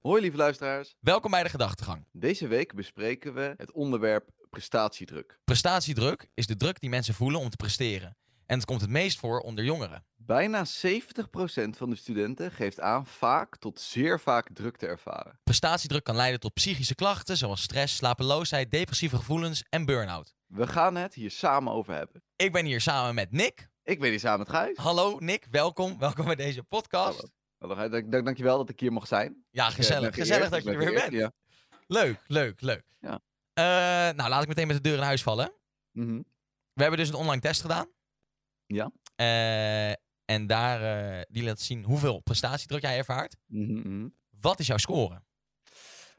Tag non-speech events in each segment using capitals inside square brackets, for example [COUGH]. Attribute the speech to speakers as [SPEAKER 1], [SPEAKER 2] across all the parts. [SPEAKER 1] Hoi lieve luisteraars,
[SPEAKER 2] Welkom bij de gedachtegang.
[SPEAKER 1] deze week bespreken we het onderwerp prestatiedruk.
[SPEAKER 2] Prestatiedruk is de druk die mensen voelen om te presteren. En het komt het meest voor onder jongeren.
[SPEAKER 1] Bijna 70% van de studenten geeft aan vaak tot zeer vaak druk te ervaren.
[SPEAKER 2] Prestatiedruk kan leiden tot psychische klachten zoals stress, slapeloosheid, depressieve gevoelens en burn-out.
[SPEAKER 1] We gaan het hier samen over hebben.
[SPEAKER 2] Ik ben hier samen met Nick.
[SPEAKER 1] Ik ben hier samen met Gijs.
[SPEAKER 2] Hallo Nick, welkom. Welkom bij deze podcast.
[SPEAKER 1] Hallo. Hallo, Gijs. Dank, dank, dankjewel dat ik hier mag zijn.
[SPEAKER 2] Ja,
[SPEAKER 1] Ik
[SPEAKER 2] gezellig.
[SPEAKER 1] ben
[SPEAKER 2] Gezellig
[SPEAKER 1] geëerd,
[SPEAKER 2] dat
[SPEAKER 1] ik
[SPEAKER 2] je er
[SPEAKER 1] ben
[SPEAKER 2] weer
[SPEAKER 1] geëerd,
[SPEAKER 2] bent. Leuk, leuk, leuk.
[SPEAKER 1] Ja.
[SPEAKER 2] Eh, nou, laat ik meteen met de deur in huis vallen.
[SPEAKER 1] Ja. Mhm.
[SPEAKER 2] We hebben dus een online test gedaan.
[SPEAKER 1] Ja.
[SPEAKER 2] Eh, en daar eh, die laat zien hoeveel prestatiedruk jij ervaart.
[SPEAKER 1] Mhm, mhm.
[SPEAKER 2] Wat is jouw score?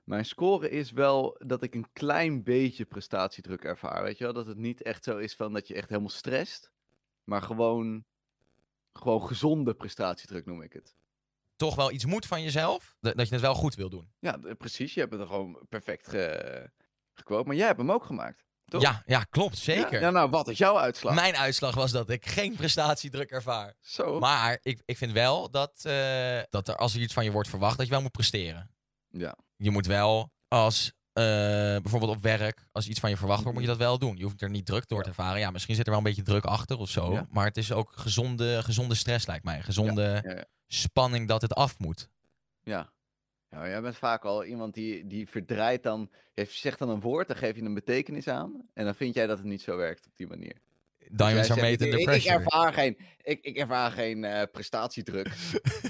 [SPEAKER 1] Mijn score is wel dat ik een klein beetje prestatiedruk ervaar. Weet je wel? Dat het niet echt zo is van dat je echt helemaal stresst. Maar gewoon, gewoon gezonde prestatiedruk noem ik het.
[SPEAKER 2] toch wel iets moet van jezelf, dat, dat je het wel goed wil doen.
[SPEAKER 1] Ja, d- precies. Je hebt het er gewoon perfect ge... gequote. Maar jij hebt hem ook gemaakt. Toch?
[SPEAKER 2] Ja, ja, klopt,
[SPEAKER 1] Ja,
[SPEAKER 2] zeker.
[SPEAKER 1] Ja, nou, wat is jouw uitslag?
[SPEAKER 2] Mijn uitslag was dat ik geen prestatiedruk ervaar.
[SPEAKER 1] Zo.
[SPEAKER 2] Maar ik, ik vind wel dat, eh, dat er, als er iets van je wordt verwacht, dat je wel moet presteren.
[SPEAKER 1] Ja.
[SPEAKER 2] Je moet wel als, eh, bijvoorbeeld op werk, als iets van je verwacht wordt, moet je dat wel doen. Je hoeft er niet druk door te ervaren. Ja, misschien zit er wel een beetje druk achter of zo.
[SPEAKER 1] Ja.
[SPEAKER 2] Maar het is ook gezonde, gezonde stress, lijkt mij. Gezonde
[SPEAKER 1] ja, ja.
[SPEAKER 2] spanning dat het af moet.
[SPEAKER 1] Ja. ja. maar Jij bent vaak al iemand die, die verdraait dan... Je zegt dan een woord, dan geef je een betekenis aan. En dan vind jij dat het niet zo werkt op die manier.
[SPEAKER 2] Dan
[SPEAKER 1] Dus
[SPEAKER 2] je
[SPEAKER 1] jij
[SPEAKER 2] zo'n
[SPEAKER 1] zegt,
[SPEAKER 2] meter
[SPEAKER 1] ik-
[SPEAKER 2] de
[SPEAKER 1] ik-
[SPEAKER 2] pressure.
[SPEAKER 1] Ik ervaar geen, ik, ik ervaar geen eh,
[SPEAKER 2] [LAUGHS]
[SPEAKER 1] prestatiedruk.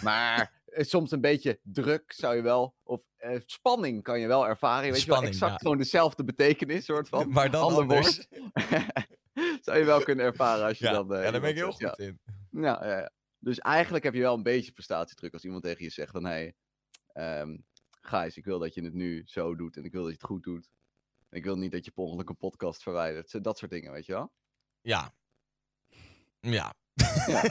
[SPEAKER 1] maar eh, soms een beetje druk zou je wel... Of eh, spanning kan je wel ervaren. Je weet je wel,
[SPEAKER 2] Spanning,
[SPEAKER 1] exact
[SPEAKER 2] ja.
[SPEAKER 1] gewoon dezelfde betekenis soort van.
[SPEAKER 2] maar dan
[SPEAKER 1] ander woord. [LAUGHS]
[SPEAKER 2] anders.
[SPEAKER 1] Zou je wel kunnen ervaren als je
[SPEAKER 2] Ja,
[SPEAKER 1] dan... eh,
[SPEAKER 2] ja, daar ben ik heel
[SPEAKER 1] iemand
[SPEAKER 2] goed
[SPEAKER 1] zegt,
[SPEAKER 2] in.
[SPEAKER 1] Ja. Ja, ja, ja. Dus eigenlijk heb je wel een beetje prestatiedruk als iemand tegen je zegt van... Hey, ehm Gijs, ik wil dat je het nu zo doet en ik wil dat je het goed doet. En ik wil niet dat je per ongeluk een podcast verwijdert. Zo- Dat soort dingen, weet je wel?
[SPEAKER 2] Ja. Ja.
[SPEAKER 1] Ja.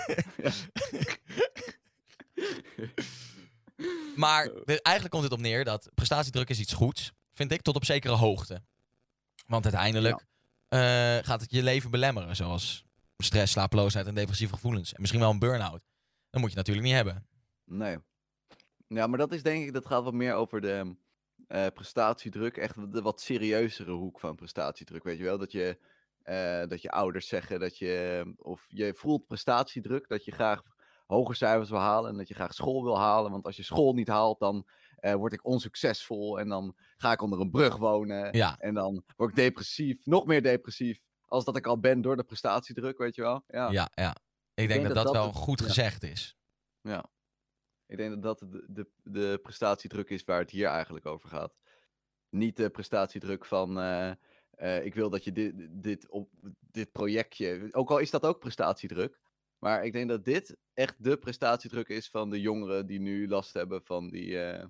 [SPEAKER 2] maar de- eigenlijk komt het op neer dat prestatiedruk is iets goeds, vind ik, tot op zekere hoogte. Want uiteindelijk eh, gaat het je leven belemmeren, zoals stress, slapeloosheid en depressieve gevoelens. En misschien wel een burn-out. Dat moet je natuurlijk niet hebben.
[SPEAKER 1] Nee. Ja, maar dat is denk ik, dat gaat wat meer over de eh, prestatiedruk. Echt de wat serieuzere hoek van prestatiedruk. Weet je wel, dat je, eh, dat je ouders zeggen dat je, of je voelt prestatiedruk, dat je graag hoge cijfers wil halen en dat je graag school wil halen. Want als je school niet haalt, dan eh, word ik onsuccesvol en dan ga ik onder een brug wonen.
[SPEAKER 2] Ja,
[SPEAKER 1] En dan word ik depressief, nog meer depressief, als dat ik al ben door de prestatiedruk, weet je wel. Ja.
[SPEAKER 2] ja, ja. Ik, denk dat dat, wel
[SPEAKER 1] het-
[SPEAKER 2] goed
[SPEAKER 1] ja.
[SPEAKER 2] gezegd is.
[SPEAKER 1] Ik denk dat dat de, de, de prestatiedruk is waar het hier eigenlijk over gaat. Niet de prestatiedruk van eh, eh, ik wil dat je dit, dit, op, dit projectje. Ook al is dat ook prestatiedruk. Maar ik denk dat dit echt de prestatiedruk is van de jongeren die nu last hebben van, die, eh,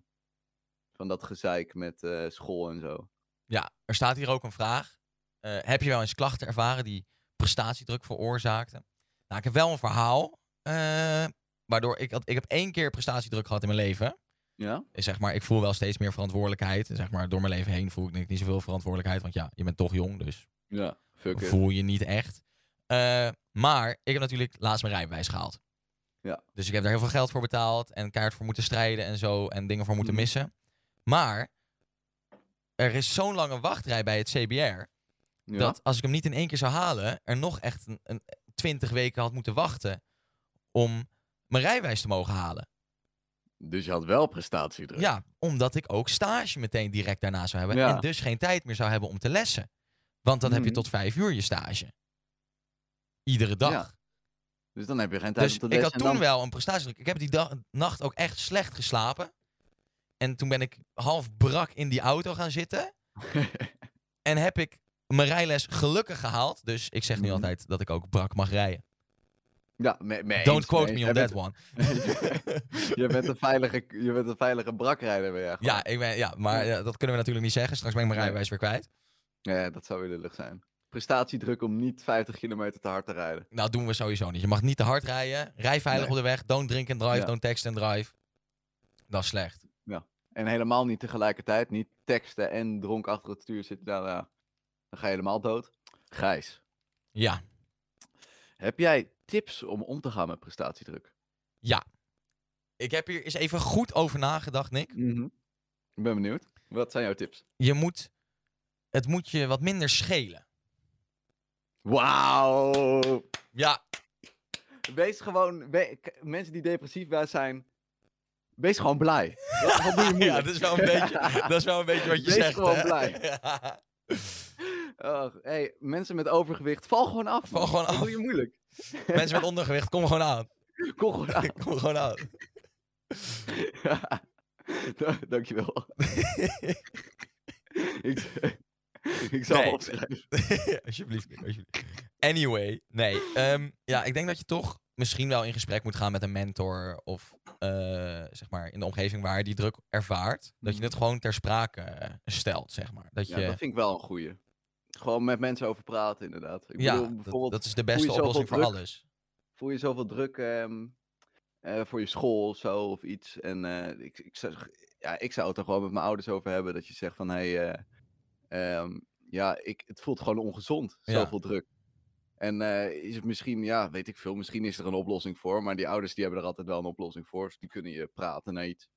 [SPEAKER 1] van dat gezeik met eh, school en zo.
[SPEAKER 2] Ja, er staat hier ook een vraag. Eh, heb je wel eens klachten ervaren die prestatiedruk veroorzaakten? Nou, ik heb wel een verhaal. eh, waardoor ik, had, ik heb één keer prestatiedruk gehad in mijn leven.
[SPEAKER 1] Ja?
[SPEAKER 2] Eh, Zeg maar, ik voel wel steeds meer verantwoordelijkheid. Zeg maar, door mijn leven heen voel ik denk ik niet zoveel verantwoordelijkheid. Want ja, je bent toch jong, dus
[SPEAKER 1] Ja, fuck it.
[SPEAKER 2] voel je niet echt. Eh, maar ik heb natuurlijk laatst mijn rijbewijs gehaald.
[SPEAKER 1] Ja.
[SPEAKER 2] Dus ik heb daar heel veel geld voor betaald en kaart voor moeten strijden en zo en dingen voor moeten
[SPEAKER 1] Mhm.
[SPEAKER 2] missen. Maar er is zo'n lange wachtrij bij het CBR
[SPEAKER 1] Ja?
[SPEAKER 2] dat als ik hem niet in één keer zou halen, er nog echt een, een 20 weken had moeten wachten om mijn rijwijs te mogen halen.
[SPEAKER 1] Dus je had wel prestatiedruk.
[SPEAKER 2] Ja, omdat ik ook stage meteen direct daarna zou hebben
[SPEAKER 1] Ja.
[SPEAKER 2] en dus geen tijd meer zou hebben om te lessen. Want dan heb je
[SPEAKER 1] Mhm.
[SPEAKER 2] tot vijf uur je stage. Iedere dag.
[SPEAKER 1] Ja, Dus dan heb je geen tijd
[SPEAKER 2] dus
[SPEAKER 1] om te
[SPEAKER 2] ik
[SPEAKER 1] lezen.
[SPEAKER 2] had
[SPEAKER 1] en
[SPEAKER 2] toen
[SPEAKER 1] dan-
[SPEAKER 2] wel een prestatiedruk. Ik heb die dag, nacht ook echt slecht geslapen. En toen ben ik half brak in die auto gaan zitten. En heb ik mijn rijles gelukkig gehaald. Dus ik zeg nu
[SPEAKER 1] Mhm.
[SPEAKER 2] altijd dat ik ook brak mag rijden.
[SPEAKER 1] [LAUGHS] ja, me, me
[SPEAKER 2] Don't
[SPEAKER 1] eens,
[SPEAKER 2] quote
[SPEAKER 1] eens.
[SPEAKER 2] me
[SPEAKER 1] Jij
[SPEAKER 2] on
[SPEAKER 1] bent-
[SPEAKER 2] that
[SPEAKER 1] [LAUGHS]
[SPEAKER 2] one.
[SPEAKER 1] je, bent
[SPEAKER 2] [LAUGHS]
[SPEAKER 1] een veilige, je bent een veilige brakrijder, ben jij gewoon.
[SPEAKER 2] ja, ik ben, ja, maar ja, dat kunnen we natuurlijk niet zeggen. Straks ben ik mijn
[SPEAKER 1] Nee.
[SPEAKER 2] rijbewijs weer kwijt.
[SPEAKER 1] Ja, dat zou weer lullig zijn. Prestatiedruk om niet 50 kilometer te hard te rijden.
[SPEAKER 2] Nou, dat doen we sowieso niet. Je mag niet te hard rijden. Rij veilig
[SPEAKER 1] Nee.
[SPEAKER 2] op de weg. Don't drink and drive.
[SPEAKER 1] Ja.
[SPEAKER 2] Don't text and drive. Dat is slecht.
[SPEAKER 1] En helemaal niet tegelijkertijd, niet teksten en dronk achter het stuur zitten. Nou, nou, dan ga je helemaal dood. Gijs,
[SPEAKER 2] Ja.
[SPEAKER 1] heb jij tips om om te gaan met prestatiedruk?
[SPEAKER 2] Ik heb hier eens even goed over nagedacht, Nick.
[SPEAKER 1] Ik ben benieuwd. Wat zijn jouw tips?
[SPEAKER 2] Je moet, het moet je wat minder schelen.
[SPEAKER 1] Wauw!
[SPEAKER 2] Ja,
[SPEAKER 1] Wees gewoon... we- k- mensen die depressief zijn, wees gewoon blij. Wat- wat doe je
[SPEAKER 2] [LAUGHS] ja
[SPEAKER 1] moeilijk?
[SPEAKER 2] dus dat, is wel een beetje, dat is wel een beetje wat je
[SPEAKER 1] Wees
[SPEAKER 2] zegt.
[SPEAKER 1] gewoon
[SPEAKER 2] hè.
[SPEAKER 1] blij.
[SPEAKER 2] [LAUGHS] Ja.
[SPEAKER 1] Och, hey, mensen met overgewicht, val gewoon af.
[SPEAKER 2] Val
[SPEAKER 1] man.
[SPEAKER 2] gewoon
[SPEAKER 1] Wat
[SPEAKER 2] af.
[SPEAKER 1] doe je moeilijk?
[SPEAKER 2] Mensen met ondergewicht, kom gewoon aan.
[SPEAKER 1] [LAUGHS]
[SPEAKER 2] [LAUGHS]
[SPEAKER 1] Kom gewoon af.
[SPEAKER 2] Kom gewoon aan.
[SPEAKER 1] [LAUGHS] Da- Dankjewel. [LAUGHS] ik, ik zal
[SPEAKER 2] Nee.
[SPEAKER 1] opschrijven.
[SPEAKER 2] [LAUGHS] alsjeblieft, Nick, alsjeblieft. Anyway, nee. ehm, ja, ik denk dat je toch misschien wel in gesprek moet gaan met een mentor of eh, zeg maar in de omgeving waar je die druk ervaart. Dat je het gewoon ter sprake eh, stelt, zeg maar. Dat je,
[SPEAKER 1] Mhm. Ja, dat vind ik wel een goeie. Gewoon met mensen over praten, inderdaad. Ik
[SPEAKER 2] ja,
[SPEAKER 1] bedoel,
[SPEAKER 2] dat-
[SPEAKER 1] bijvoorbeeld,
[SPEAKER 2] dat is de beste
[SPEAKER 1] zoveel
[SPEAKER 2] oplossing voor
[SPEAKER 1] druk-
[SPEAKER 2] alles.
[SPEAKER 1] voel je zoveel druk ehm, eh, voor je school of zo of iets. En eh, ik, ik, zou, ja, ik zou het er gewoon met mijn ouders over hebben. Dat je zegt van, hé, hey, eh, ehm, ja, ik, het voelt gewoon ongezond,
[SPEAKER 2] Ja.
[SPEAKER 1] zoveel druk. En eh, is het misschien, ja, weet ik veel, misschien is er een oplossing voor. Maar die ouders die hebben er altijd wel een oplossing voor. Dus die kunnen je praten naar iets.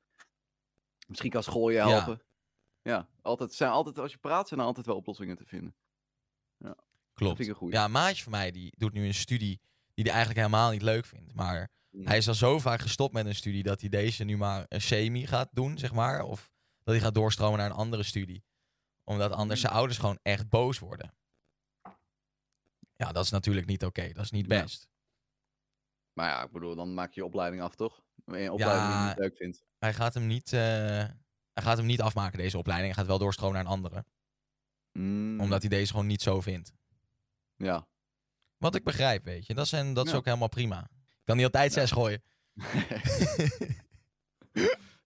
[SPEAKER 1] Misschien kan school je
[SPEAKER 2] Ja.
[SPEAKER 1] helpen. Ja, altijd, zijn altijd, als je praat zijn er altijd wel oplossingen te vinden.
[SPEAKER 2] Klopt.
[SPEAKER 1] vind ik een goeie.
[SPEAKER 2] Ja, een maatje van mij die doet nu een studie die hij eigenlijk helemaal niet leuk vindt. Maar
[SPEAKER 1] Mm.
[SPEAKER 2] hij is al zo vaak gestopt met een studie dat hij deze nu maar een semi gaat doen, zeg maar. Of dat hij gaat doorstromen naar een andere studie. Omdat anders
[SPEAKER 1] Hmm.
[SPEAKER 2] zijn ouders gewoon echt boos worden. Ja, dat is natuurlijk niet oké. Dat is niet
[SPEAKER 1] Ja.
[SPEAKER 2] best.
[SPEAKER 1] Maar ja, ik bedoel, dan maak je je opleiding af, toch? Een opleiding die je
[SPEAKER 2] Ja.
[SPEAKER 1] niet leuk vindt.
[SPEAKER 2] Hij, gaat hem niet, eh, hij gaat hem niet afmaken, deze opleiding. Hij gaat wel doorstromen naar een andere.
[SPEAKER 1] Mm,
[SPEAKER 2] Omdat hij deze gewoon niet zo vindt.
[SPEAKER 1] Ja,
[SPEAKER 2] Wat ik begrijp, weet je. Dat, zijn, dat is
[SPEAKER 1] Ja.
[SPEAKER 2] ook helemaal prima. Ik kan niet altijd zes gooien.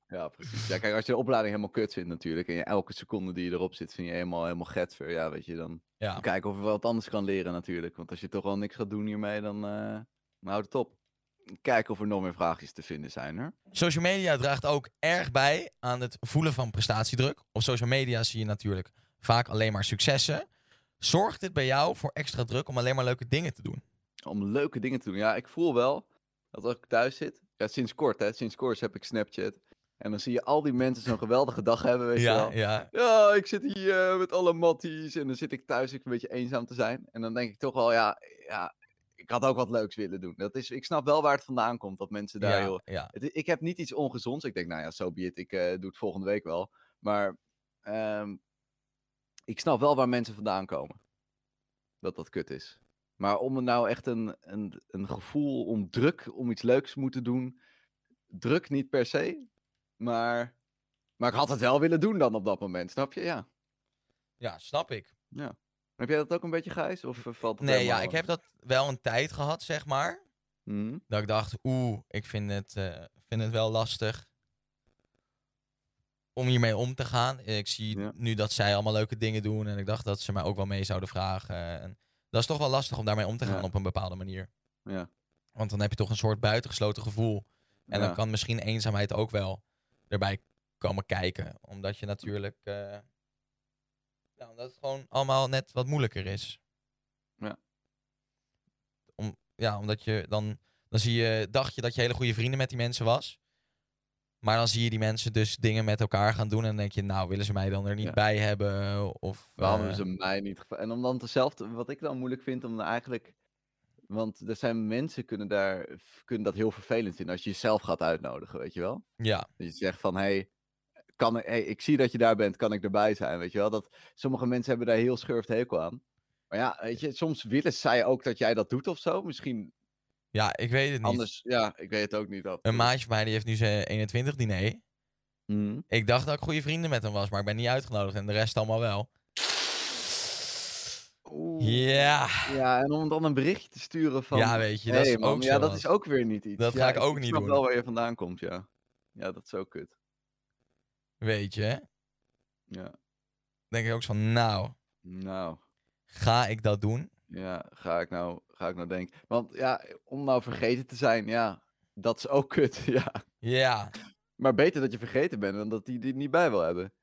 [SPEAKER 1] ja, precies. Ja, kijk, als je de opleiding helemaal kut vindt natuurlijk... en je elke seconde die je erop zit vind je helemaal, helemaal getver... ja, weet je, dan
[SPEAKER 2] Ja.
[SPEAKER 1] kijken of je wat anders kan leren natuurlijk. Want als je toch al niks gaat doen hiermee, dan, eh dan houdt het op. Kijken of er nog meer vraagjes te vinden zijn, hè?
[SPEAKER 2] Social media draagt ook erg bij aan het voelen van prestatiedruk. Op social media zie je natuurlijk vaak alleen maar successen. Zorgt dit bij jou voor extra druk om alleen maar leuke dingen te doen?
[SPEAKER 1] Om leuke dingen te doen. Ja, ik voel wel dat als ik thuis zit... Ja, sinds kort, hè. Sinds kort heb ik Snapchat. En dan zie je al die mensen zo'n geweldige dag hebben, weet je wel.
[SPEAKER 2] Ja, ja.
[SPEAKER 1] Ja, ik zit hier eh, met alle matties en dan zit ik thuis ik een beetje eenzaam te zijn. En dan denk ik toch wel, ja, ja ik had ook wat leuks willen doen. Dat is, ik snap wel waar het vandaan komt, dat mensen daar heel...
[SPEAKER 2] ja, ja.
[SPEAKER 1] Het i- ik heb niet iets ongezonds. Ik denk, nou ja, zo so be it, ik eh, doe het volgende week wel. Maar ehm, ik snap wel waar mensen vandaan komen. Dat dat kut is. Maar om er nou echt een, een, een gevoel om druk, om iets leuks te moeten doen... Druk niet per se, maar... Maar ik had het wel willen doen dan op dat moment, snap je? Ja.
[SPEAKER 2] Ja, snap ik.
[SPEAKER 1] Heb jij dat ook een beetje, Gijs? Of eh, valt het
[SPEAKER 2] Nee,
[SPEAKER 1] helemaal,
[SPEAKER 2] ja, ik
[SPEAKER 1] eh,
[SPEAKER 2] heb dat wel een tijd gehad, zeg maar.
[SPEAKER 1] mhm.
[SPEAKER 2] Dat ik dacht, oeh, ik vind het, eh, vind het wel lastig om hiermee om te gaan. Ik zie
[SPEAKER 1] Ja.
[SPEAKER 2] nu dat zij allemaal leuke dingen doen en ik dacht dat ze mij ook wel mee zouden vragen. En dat is toch wel lastig om daarmee om te gaan
[SPEAKER 1] Ja.
[SPEAKER 2] op een bepaalde manier.
[SPEAKER 1] Ja.
[SPEAKER 2] Want dan heb je toch een soort buitengesloten gevoel. En
[SPEAKER 1] Ja.
[SPEAKER 2] dan kan misschien eenzaamheid ook wel erbij komen kijken. Omdat je natuurlijk, eh, ja, omdat het gewoon allemaal net wat moeilijker is.
[SPEAKER 1] Ja.
[SPEAKER 2] Om, ja, omdat je dan dan zie je, dacht je dat je hele goede vrienden met die mensen was. Maar dan zie je die mensen dus dingen met elkaar gaan doen. En dan denk je, nou, willen ze mij dan er niet
[SPEAKER 1] Ja.
[SPEAKER 2] bij hebben? Of,
[SPEAKER 1] Waarom
[SPEAKER 2] eh,
[SPEAKER 1] hebben ze mij niet gevraagd? En om dan hetzelfde, wat ik dan moeilijk vind, om dan eigenlijk. Want er zijn mensen kunnen, daar, kunnen dat heel vervelend vinden als je jezelf gaat uitnodigen, weet je wel?
[SPEAKER 2] Ja,
[SPEAKER 1] Dat je zegt van, hé, hey, kan ik- hey, ik zie dat je daar bent, kan ik erbij zijn, weet je wel? Dat, sommige mensen hebben daar heel schurft hekel aan. Maar ja, weet je, soms willen zij ook dat jij dat doet of zo. Misschien
[SPEAKER 2] ja, ik weet het niet.
[SPEAKER 1] anders, ja, ik weet het ook niet. af en
[SPEAKER 2] Een
[SPEAKER 1] toe.
[SPEAKER 2] maatje van mij die heeft nu zijn 21 diner.
[SPEAKER 1] Mhm.
[SPEAKER 2] Ik dacht dat ik goede vrienden met hem was, maar ik ben niet uitgenodigd. En de rest allemaal wel.
[SPEAKER 1] Oeh.
[SPEAKER 2] Ja,
[SPEAKER 1] Ja, en om dan een berichtje te sturen van...
[SPEAKER 2] ja weet je, dat
[SPEAKER 1] Hey,
[SPEAKER 2] is
[SPEAKER 1] man,
[SPEAKER 2] ook
[SPEAKER 1] ja,
[SPEAKER 2] zo
[SPEAKER 1] dat
[SPEAKER 2] wat.
[SPEAKER 1] is ook weer niet iets.
[SPEAKER 2] Dat
[SPEAKER 1] Ja,
[SPEAKER 2] ga ik ook niet
[SPEAKER 1] snap
[SPEAKER 2] doen.
[SPEAKER 1] wel waar je vandaan komt, ja. Ja, dat is ook kut.
[SPEAKER 2] Weet je,
[SPEAKER 1] Ja.
[SPEAKER 2] denk ik ook zo van, nou,
[SPEAKER 1] Nou,
[SPEAKER 2] ga ik dat doen?
[SPEAKER 1] ja, ga ik nou, ga ik nou denken. Want ja, om nou vergeten te zijn, ja, dat is ook [LAUGHS] kut, ja.
[SPEAKER 2] Ja.
[SPEAKER 1] Maar beter dat je vergeten bent dan dat die die er niet bij wil hebben.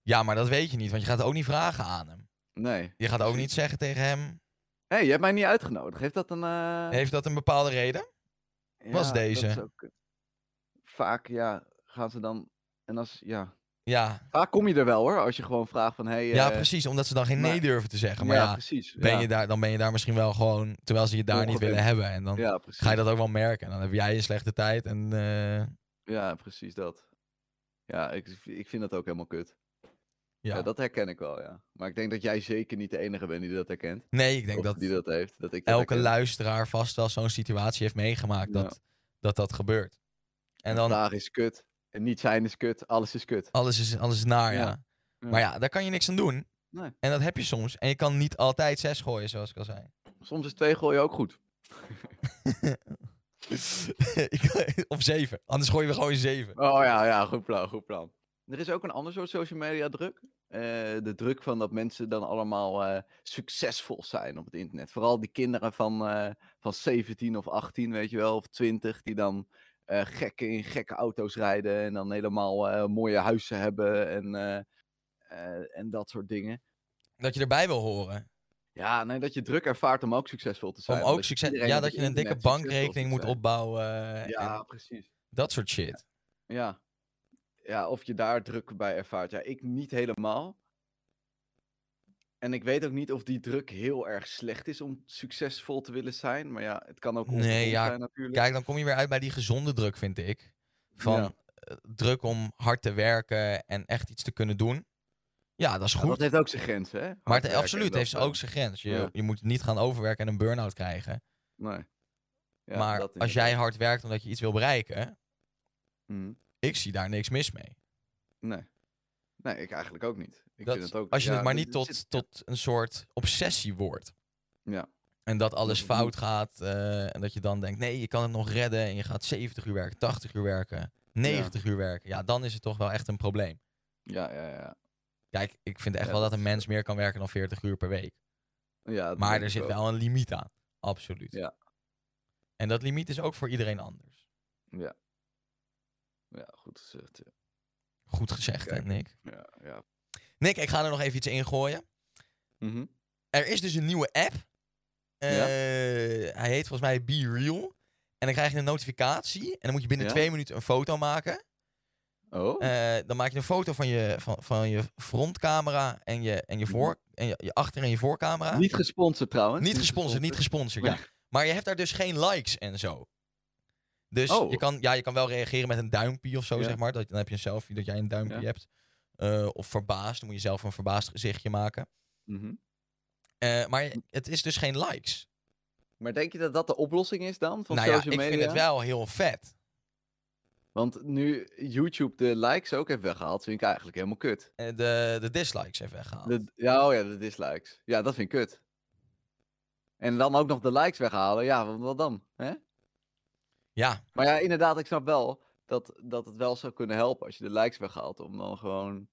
[SPEAKER 2] Ja, maar dat weet je niet, want je gaat ook niet vragen aan hem.
[SPEAKER 1] Nee.
[SPEAKER 2] Je gaat ook
[SPEAKER 1] Precies.
[SPEAKER 2] niet zeggen tegen hem,
[SPEAKER 1] Hé, hey, je hebt mij niet uitgenodigd. Heeft dat een... eh,
[SPEAKER 2] Heeft dat een bepaalde reden? was
[SPEAKER 1] ja, dat is
[SPEAKER 2] deze?
[SPEAKER 1] ook kut. Vaak, ja, gaan ze dan... En als, ja,
[SPEAKER 2] Ja,
[SPEAKER 1] Vaak kom je er wel hoor, als je gewoon vraagt van hey,
[SPEAKER 2] ja,
[SPEAKER 1] eh,
[SPEAKER 2] precies. Omdat ze dan geen nee
[SPEAKER 1] maar-
[SPEAKER 2] durven te zeggen. Maar
[SPEAKER 1] ja,
[SPEAKER 2] ja,
[SPEAKER 1] precies.
[SPEAKER 2] ben
[SPEAKER 1] ja.
[SPEAKER 2] Je daar, dan ben je daar misschien wel gewoon... Terwijl ze je daar niet
[SPEAKER 1] Ongewild.
[SPEAKER 2] willen hebben. En dan
[SPEAKER 1] Ja, precies.
[SPEAKER 2] ga je dat ook wel merken. En dan heb jij een slechte tijd. En eh,
[SPEAKER 1] Ja, precies dat. Ja, ik, ik vind dat ook helemaal kut. Ja.
[SPEAKER 2] ja.
[SPEAKER 1] dat herken ik wel, ja. Maar ik denk dat jij zeker niet de enige bent die dat herkent.
[SPEAKER 2] Nee, ik denk
[SPEAKER 1] Of
[SPEAKER 2] dat
[SPEAKER 1] die dat heeft. Dat ik dat
[SPEAKER 2] elke
[SPEAKER 1] herken.
[SPEAKER 2] luisteraar vast wel zo'n situatie heeft meegemaakt.
[SPEAKER 1] Ja.
[SPEAKER 2] Dat, dat dat gebeurt. En dan
[SPEAKER 1] Vandaag is kut. En niet zijn is kut. Alles is kut.
[SPEAKER 2] alles is, alles is naar, ja.
[SPEAKER 1] Ja, ja.
[SPEAKER 2] Maar ja, daar kan je niks aan doen.
[SPEAKER 1] Nee.
[SPEAKER 2] En dat heb je soms. En je kan niet altijd zes gooien, zoals ik al zei.
[SPEAKER 1] [LAUGHS] Soms is twee gooien ook goed.
[SPEAKER 2] Ik- [LAUGHS] of zeven. Anders gooi je gewoon zeven.
[SPEAKER 1] Oh ja, ja, goed plan, goed plan. Er is ook een ander soort social media druk. Eh, de druk van dat mensen dan allemaal eh, succesvol zijn op het internet. Vooral die kinderen van, eh, van 17 of 18, weet je wel, of 20, die dan eh gekke in gekke auto's rijden en dan helemaal eh, mooie huizen hebben en, eh, eh, en dat soort dingen.
[SPEAKER 2] Dat je erbij wil horen.
[SPEAKER 1] Ja, nee, dat je druk ervaart om ook succesvol te zijn.
[SPEAKER 2] Om
[SPEAKER 1] want
[SPEAKER 2] ook
[SPEAKER 1] dat
[SPEAKER 2] succes.
[SPEAKER 1] iedereen
[SPEAKER 2] Ja,
[SPEAKER 1] op
[SPEAKER 2] dat
[SPEAKER 1] het
[SPEAKER 2] je een dikke
[SPEAKER 1] internet succesvol
[SPEAKER 2] bankrekening moet
[SPEAKER 1] zijn.
[SPEAKER 2] opbouwen. eh, en
[SPEAKER 1] Ja, precies.
[SPEAKER 2] dat soort shit.
[SPEAKER 1] Ja. Ja, of je daar druk bij ervaart. Ja, ik niet helemaal. En ik weet ook niet of die druk heel erg slecht is om succesvol te willen zijn. Maar ja, het kan ook
[SPEAKER 2] Nee,
[SPEAKER 1] ongezond
[SPEAKER 2] ja,
[SPEAKER 1] zijn natuurlijk.
[SPEAKER 2] Kijk, dan kom je weer uit bij die gezonde druk, vind ik. Van
[SPEAKER 1] Ja.
[SPEAKER 2] eh, druk om hard te werken en echt iets te kunnen doen. Ja, dat is
[SPEAKER 1] Ja, dat
[SPEAKER 2] goed.
[SPEAKER 1] heeft ook zijn grenzen, hè?
[SPEAKER 2] maar
[SPEAKER 1] Hard
[SPEAKER 2] het,
[SPEAKER 1] werken en
[SPEAKER 2] absoluut
[SPEAKER 1] dat
[SPEAKER 2] heeft ze
[SPEAKER 1] soort-
[SPEAKER 2] ook zijn grens. Je,
[SPEAKER 1] Ja.
[SPEAKER 2] je moet niet gaan overwerken en een burn-out krijgen.
[SPEAKER 1] Nee. Ja,
[SPEAKER 2] maar
[SPEAKER 1] dat
[SPEAKER 2] als jij
[SPEAKER 1] inderdaad.
[SPEAKER 2] hard werkt omdat je iets wil bereiken,
[SPEAKER 1] Mhm.
[SPEAKER 2] ik zie daar niks mis mee.
[SPEAKER 1] Nee. Nee, ik eigenlijk ook niet. Ik
[SPEAKER 2] Dat-
[SPEAKER 1] vind het ook...
[SPEAKER 2] als je
[SPEAKER 1] ja,
[SPEAKER 2] het maar
[SPEAKER 1] dat-
[SPEAKER 2] niet
[SPEAKER 1] dat
[SPEAKER 2] tot,
[SPEAKER 1] zit-
[SPEAKER 2] tot een soort obsessie wordt.
[SPEAKER 1] Ja. Mm-hmm.
[SPEAKER 2] En dat alles
[SPEAKER 1] Dat het
[SPEAKER 2] fout gaat. eh, en dat je dan denkt, nee, je kan het nog redden. En je gaat 70 uur werken, 80 uur werken, 90 uur werken. Ja, dan is het toch wel echt een probleem.
[SPEAKER 1] Ja, ja, ja.
[SPEAKER 2] Kijk, ik vind echt
[SPEAKER 1] Ja,
[SPEAKER 2] wel
[SPEAKER 1] dat
[SPEAKER 2] dat een
[SPEAKER 1] is,
[SPEAKER 2] mens meer kan werken dan 40 uur per week.
[SPEAKER 1] ja dat
[SPEAKER 2] Maar
[SPEAKER 1] denk
[SPEAKER 2] er
[SPEAKER 1] ik
[SPEAKER 2] zit
[SPEAKER 1] ook.
[SPEAKER 2] wel een limiet aan. Absoluut.
[SPEAKER 1] Ja.
[SPEAKER 2] En dat limiet is ook voor iedereen anders.
[SPEAKER 1] Ja, goed gezegd. ja.
[SPEAKER 2] Goed gezegd, hè,
[SPEAKER 1] Kijk.
[SPEAKER 2] Nick.
[SPEAKER 1] Ja, ja.
[SPEAKER 2] Nick, ik ga er nog even iets in gooien.
[SPEAKER 1] Mhm.
[SPEAKER 2] Er is dus een nieuwe app. Eh,
[SPEAKER 1] Ja.
[SPEAKER 2] Hij heet volgens mij Be Real. En dan krijg je een notificatie. En dan moet je binnen
[SPEAKER 1] Ja.
[SPEAKER 2] twee minuten een foto maken.
[SPEAKER 1] Oh,
[SPEAKER 2] Eh, dan maak je een foto van je, van, van je frontcamera en je, en je, voor, en je, je achter- en je voorcamera.
[SPEAKER 1] Mhm. niet gesponsord trouwens.
[SPEAKER 2] ah. Niet gesponsord, niet gesponsord, ja. Maar je hebt daar dus geen likes en zo. Dus
[SPEAKER 1] Oh.
[SPEAKER 2] je, kan, ja, je kan wel reageren met een duimpje of zo,
[SPEAKER 1] Ja.
[SPEAKER 2] zeg maar. Dat, dan heb je een selfie dat jij een duimpje
[SPEAKER 1] Ja.
[SPEAKER 2] hebt. Eh, of verbaasd, dan moet je zelf een verbaasd gezichtje maken.
[SPEAKER 1] Mhm.
[SPEAKER 2] Eh, maar het is dus geen likes.
[SPEAKER 1] Maar denk je dat dat de oplossing is dan van
[SPEAKER 2] nou ja, ik
[SPEAKER 1] social media?
[SPEAKER 2] vind het wel heel vet.
[SPEAKER 1] Want nu YouTube de likes ook heeft weggehaald, vind ik eigenlijk helemaal kut.
[SPEAKER 2] Eh, De, de dislikes heeft weggehaald.
[SPEAKER 1] De, ja, oh ja, de dislikes. Ja, dat vind ik kut. En dan ook nog de likes weghalen, ja, wat, wat dan? Hè?
[SPEAKER 2] Ja,
[SPEAKER 1] Maar ja, inderdaad, ik snap wel dat, dat het wel zou kunnen helpen als je de likes weghaalt, om dan gewoon...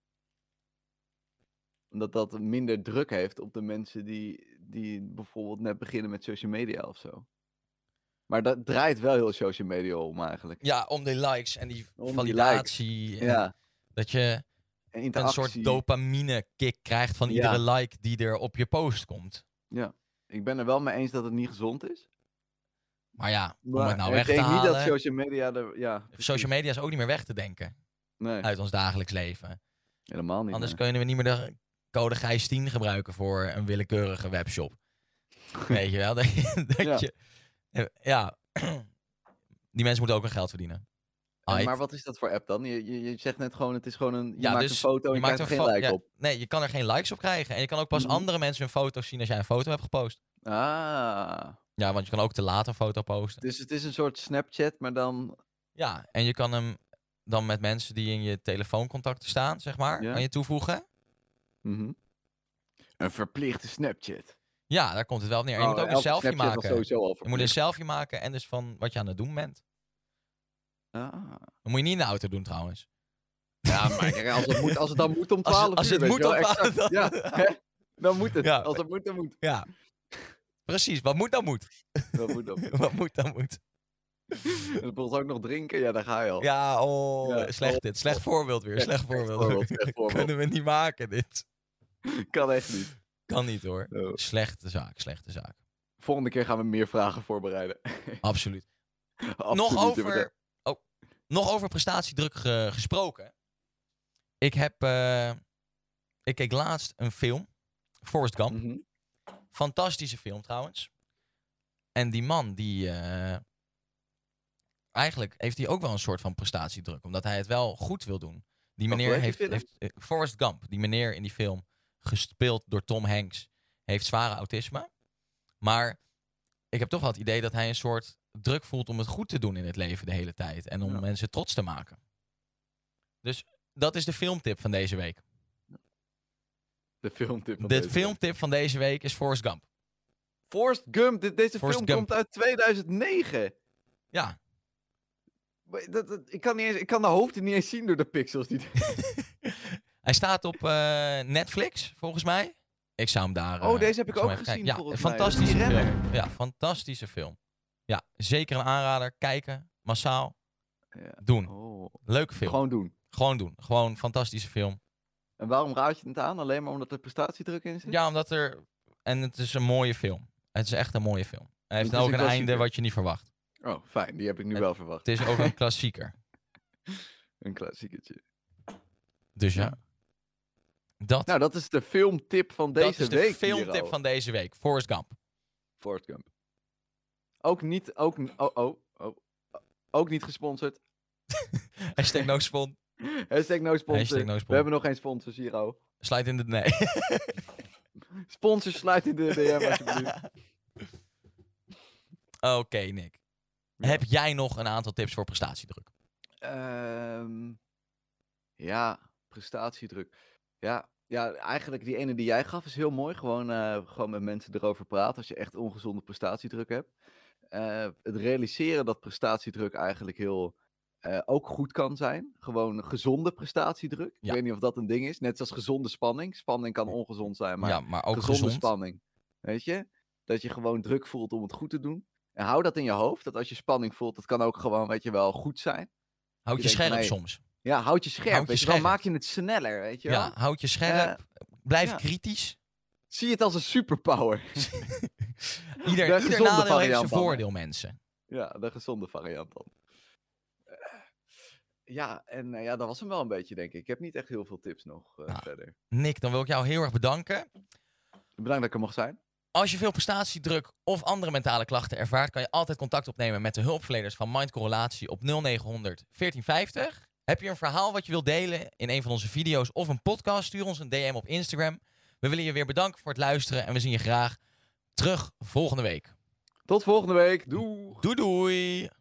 [SPEAKER 1] Omdat dat minder druk heeft op de mensen die, die bijvoorbeeld net beginnen met social media of zo. Maar dat draait wel heel social media om eigenlijk.
[SPEAKER 2] ja, om die likes en die
[SPEAKER 1] Om die
[SPEAKER 2] validatie. en
[SPEAKER 1] Ja,
[SPEAKER 2] Dat je
[SPEAKER 1] en
[SPEAKER 2] een
[SPEAKER 1] interactie.
[SPEAKER 2] soort dopamine kick krijgt van
[SPEAKER 1] Ja.
[SPEAKER 2] iedere like die er op je post komt.
[SPEAKER 1] Ik ben er wel mee eens dat het niet gezond is.
[SPEAKER 2] Maar ja, om
[SPEAKER 1] Maar
[SPEAKER 2] het nou
[SPEAKER 1] ik
[SPEAKER 2] weg te
[SPEAKER 1] denk niet dat
[SPEAKER 2] halen.
[SPEAKER 1] social media er. Ja, precies.
[SPEAKER 2] Social media is ook niet meer weg te denken
[SPEAKER 1] Nee,
[SPEAKER 2] uit ons dagelijks leven.
[SPEAKER 1] helemaal niet.
[SPEAKER 2] Anders
[SPEAKER 1] nee.
[SPEAKER 2] kunnen we niet meer de code Gijs 10 gebruiken voor een willekeurige
[SPEAKER 1] [LAUGHS]
[SPEAKER 2] webshop. Weet je wel? [LAUGHS] Dat, je- dat
[SPEAKER 1] Ja.
[SPEAKER 2] je, eh, ja, [CLEARS THROAT] die mensen moeten ook hun geld verdienen.
[SPEAKER 1] En
[SPEAKER 2] Aight.
[SPEAKER 1] maar wat is dat voor app dan? Je, je, je zegt net gewoon: het is gewoon een. Je
[SPEAKER 2] Ja,
[SPEAKER 1] maakt een
[SPEAKER 2] dus
[SPEAKER 1] foto en je, maakt er geen
[SPEAKER 2] fo-
[SPEAKER 1] like
[SPEAKER 2] ja,
[SPEAKER 1] op.
[SPEAKER 2] Nee, je kan er geen likes op krijgen. En je kan ook pas
[SPEAKER 1] Mhm.
[SPEAKER 2] andere mensen hun foto's zien als jij een foto hebt gepost.
[SPEAKER 1] Ah,
[SPEAKER 2] Ja, want je kan ook te laat een foto posten.
[SPEAKER 1] dus het is een soort Snapchat, maar dan.
[SPEAKER 2] Ja, en je kan hem dan met mensen die in je telefooncontacten staan, zeg maar,
[SPEAKER 1] Ja.
[SPEAKER 2] aan je toevoegen.
[SPEAKER 1] Mhm. Een verplichte Snapchat.
[SPEAKER 2] Ja, daar komt het wel op neer. En
[SPEAKER 1] Oh,
[SPEAKER 2] je moet ook een
[SPEAKER 1] elke
[SPEAKER 2] selfie
[SPEAKER 1] Snapchat was
[SPEAKER 2] maken.
[SPEAKER 1] Sowieso al
[SPEAKER 2] Je moet een
[SPEAKER 1] verplicht.
[SPEAKER 2] selfie maken en dus van wat je aan het doen bent.
[SPEAKER 1] Ah.
[SPEAKER 2] Dat moet je niet in de auto doen trouwens.
[SPEAKER 1] Ja,
[SPEAKER 2] [LAUGHS]
[SPEAKER 1] maar kijk, als het, moet, als het dan moet om
[SPEAKER 2] Ah, Als
[SPEAKER 1] 12
[SPEAKER 2] het, als
[SPEAKER 1] uur.
[SPEAKER 2] het
[SPEAKER 1] weet
[SPEAKER 2] moet
[SPEAKER 1] je wel,
[SPEAKER 2] op
[SPEAKER 1] exact.
[SPEAKER 2] [LAUGHS]
[SPEAKER 1] Ja, hè? dan moet het.
[SPEAKER 2] Ja.
[SPEAKER 1] Als het moet, dan moet.
[SPEAKER 2] ja. Precies, wat moet [LAUGHS] dan moet.
[SPEAKER 1] Dan moet dan.
[SPEAKER 2] wat moet dan moet.
[SPEAKER 1] En dan moet ook nog drinken, ja, daar ga je al.
[SPEAKER 2] Ja, oh,
[SPEAKER 1] Ja,
[SPEAKER 2] slecht
[SPEAKER 1] oh,
[SPEAKER 2] dit. Slecht voorbeeld weer,
[SPEAKER 1] Slecht-
[SPEAKER 2] slecht
[SPEAKER 1] slecht
[SPEAKER 2] voorbeeld.
[SPEAKER 1] voorbeeld,
[SPEAKER 2] [LAUGHS]
[SPEAKER 1] slecht
[SPEAKER 2] Kunnen we niet maken dit.
[SPEAKER 1] Kan echt niet.
[SPEAKER 2] Kan niet hoor.
[SPEAKER 1] Oh.
[SPEAKER 2] Slechte zaak, slechte zaak.
[SPEAKER 1] Volgende keer gaan we meer vragen voorbereiden. [LAUGHS]
[SPEAKER 2] Absoluut.
[SPEAKER 1] Absoluut,
[SPEAKER 2] nog,
[SPEAKER 1] inderdaad.
[SPEAKER 2] over, oh, nog over prestatiedruk ge- gesproken. Ik heb... eh, ik keek laatst een film. Forrest Gump.
[SPEAKER 1] Mhm.
[SPEAKER 2] Fantastische film trouwens. En die man, die. eh, eigenlijk heeft hij ook wel een soort van prestatiedruk, omdat hij het wel goed wil doen. Die
[SPEAKER 1] Wacht,
[SPEAKER 2] meneer
[SPEAKER 1] hoe heet
[SPEAKER 2] heeft.
[SPEAKER 1] die
[SPEAKER 2] heeft eh, Forrest Gump, die meneer in die film, gespeeld door Tom Hanks, heeft zware autisme. Maar ik heb toch wel het idee dat hij een soort druk voelt om het goed te doen in het leven de hele tijd. En om
[SPEAKER 1] Ja.
[SPEAKER 2] mensen trots te maken. Dus dat is de filmtip van deze week.
[SPEAKER 1] De filmtip. van
[SPEAKER 2] de
[SPEAKER 1] deze week.
[SPEAKER 2] filmtip van deze week is Forrest Gump.
[SPEAKER 1] Forrest Gump. Dit, deze
[SPEAKER 2] Forrest
[SPEAKER 1] film
[SPEAKER 2] Gump.
[SPEAKER 1] komt uit 2009.
[SPEAKER 2] Ja,
[SPEAKER 1] Maar Dat, dat- ik, kan niet eens, ik kan de hoofden niet eens zien door de pixels. Die...
[SPEAKER 2] Hij staat op eh, Netflix, volgens mij. Ik zou hem daar.
[SPEAKER 1] Oh,
[SPEAKER 2] eh,
[SPEAKER 1] deze heb ik
[SPEAKER 2] zou
[SPEAKER 1] ook
[SPEAKER 2] hem even
[SPEAKER 1] gezien,
[SPEAKER 2] kijken. Ja,
[SPEAKER 1] volgens mij.
[SPEAKER 2] fantastische
[SPEAKER 1] Die
[SPEAKER 2] film.
[SPEAKER 1] renner.
[SPEAKER 2] Ja, fantastische film. Ja, zeker een aanrader. Kijken, massaal.
[SPEAKER 1] Ja.
[SPEAKER 2] Doen.
[SPEAKER 1] Oh,
[SPEAKER 2] Leuke film. Gewoon,
[SPEAKER 1] gewoon doen.
[SPEAKER 2] doen. Gewoon fantastische film.
[SPEAKER 1] En waarom raad je het aan? Alleen maar omdat er prestatiedruk in zit?
[SPEAKER 2] Ja, omdat er. En het is een mooie film. Het is echt een mooie film. Hij heeft
[SPEAKER 1] Het is
[SPEAKER 2] ook
[SPEAKER 1] een
[SPEAKER 2] een einde
[SPEAKER 1] klassieker.
[SPEAKER 2] wat je niet verwacht.
[SPEAKER 1] Oh, fijn. Die heb ik nu
[SPEAKER 2] Het-
[SPEAKER 1] wel verwacht.
[SPEAKER 2] Het is ook
[SPEAKER 1] [LAUGHS]
[SPEAKER 2] een klassieker.
[SPEAKER 1] Een klassieketje.
[SPEAKER 2] Dus ja.
[SPEAKER 1] Ja.
[SPEAKER 2] Dat,
[SPEAKER 1] Nou, dat is de filmtip van
[SPEAKER 2] dat
[SPEAKER 1] deze
[SPEAKER 2] is de
[SPEAKER 1] week. hier
[SPEAKER 2] filmtip
[SPEAKER 1] al.
[SPEAKER 2] van deze week. Forrest Gump.
[SPEAKER 1] Forrest Gump. Ook niet, ook, n- oh, oh, oh, ook niet
[SPEAKER 2] [LAUGHS]
[SPEAKER 1] gesponsord.
[SPEAKER 2] Hashtag no spon.
[SPEAKER 1] Hashtag no sponsor.
[SPEAKER 2] Hashtag no
[SPEAKER 1] We
[SPEAKER 2] spon.
[SPEAKER 1] hebben nog geen sponsors, Hiro.
[SPEAKER 2] Sluit in de. Nee. [LAUGHS]
[SPEAKER 1] Sponsors sluit in de DM alsjeblieft.
[SPEAKER 2] Oké, Nick.
[SPEAKER 1] Ja.
[SPEAKER 2] Heb jij nog een aantal tips voor prestatiedruk?
[SPEAKER 1] Ehm, ja, prestatiedruk. Ja, ja, eigenlijk die ene die jij gaf is heel mooi. Gewoon, eh, gewoon met mensen erover praten als je echt ongezonde prestatiedruk hebt. Eh, het realiseren dat prestatiedruk eigenlijk heel eh, ook goed kan zijn. Gewoon gezonde prestatiedruk.
[SPEAKER 2] Ja.
[SPEAKER 1] Ik weet niet of dat een ding is. Net zoals gezonde spanning. Spanning kan ongezond zijn, maar
[SPEAKER 2] ja, maar ook
[SPEAKER 1] gezonde
[SPEAKER 2] gezond.
[SPEAKER 1] spanning. Weet je? Dat je gewoon druk voelt om het goed te doen. En hou dat in je hoofd. Dat als je spanning voelt, dat kan ook gewoon, weet je wel, goed zijn.
[SPEAKER 2] Houd je,
[SPEAKER 1] Je denkt van,
[SPEAKER 2] scherp
[SPEAKER 1] hey,
[SPEAKER 2] soms.
[SPEAKER 1] Ja, houd je scherp.
[SPEAKER 2] Houd je
[SPEAKER 1] weet je wel,
[SPEAKER 2] scherp.
[SPEAKER 1] maak je het sneller, weet je
[SPEAKER 2] Ja.
[SPEAKER 1] wel.
[SPEAKER 2] houd je scherp. Blijf
[SPEAKER 1] ja.
[SPEAKER 2] kritisch.
[SPEAKER 1] Zie het als een superpower. [LAUGHS] De
[SPEAKER 2] Ieder, ieder
[SPEAKER 1] gezonde
[SPEAKER 2] nadeel heeft
[SPEAKER 1] variant
[SPEAKER 2] zijn
[SPEAKER 1] dan, hè.
[SPEAKER 2] voordeel, mensen.
[SPEAKER 1] ja, de gezonde variant dan. Eh, Ja, en eh, ja, dat was hem wel een beetje, denk ik. Ik heb niet echt heel veel tips nog eh,
[SPEAKER 2] Nou.
[SPEAKER 1] verder.
[SPEAKER 2] Nick, dan wil ik jou heel erg bedanken.
[SPEAKER 1] Bedankt dat ik er mocht zijn.
[SPEAKER 2] Als je veel prestatiedruk of andere mentale klachten ervaart, kan je altijd contact opnemen met de hulpverleners van Mind Correlatie op 0900 1450. Heb je een verhaal wat je wilt delen in een van onze video's of een podcast? Stuur ons een DM op Instagram. We willen je weer bedanken voor het luisteren en we zien je graag terug volgende week.
[SPEAKER 1] Tot volgende week. Doeg!
[SPEAKER 2] Doei doei!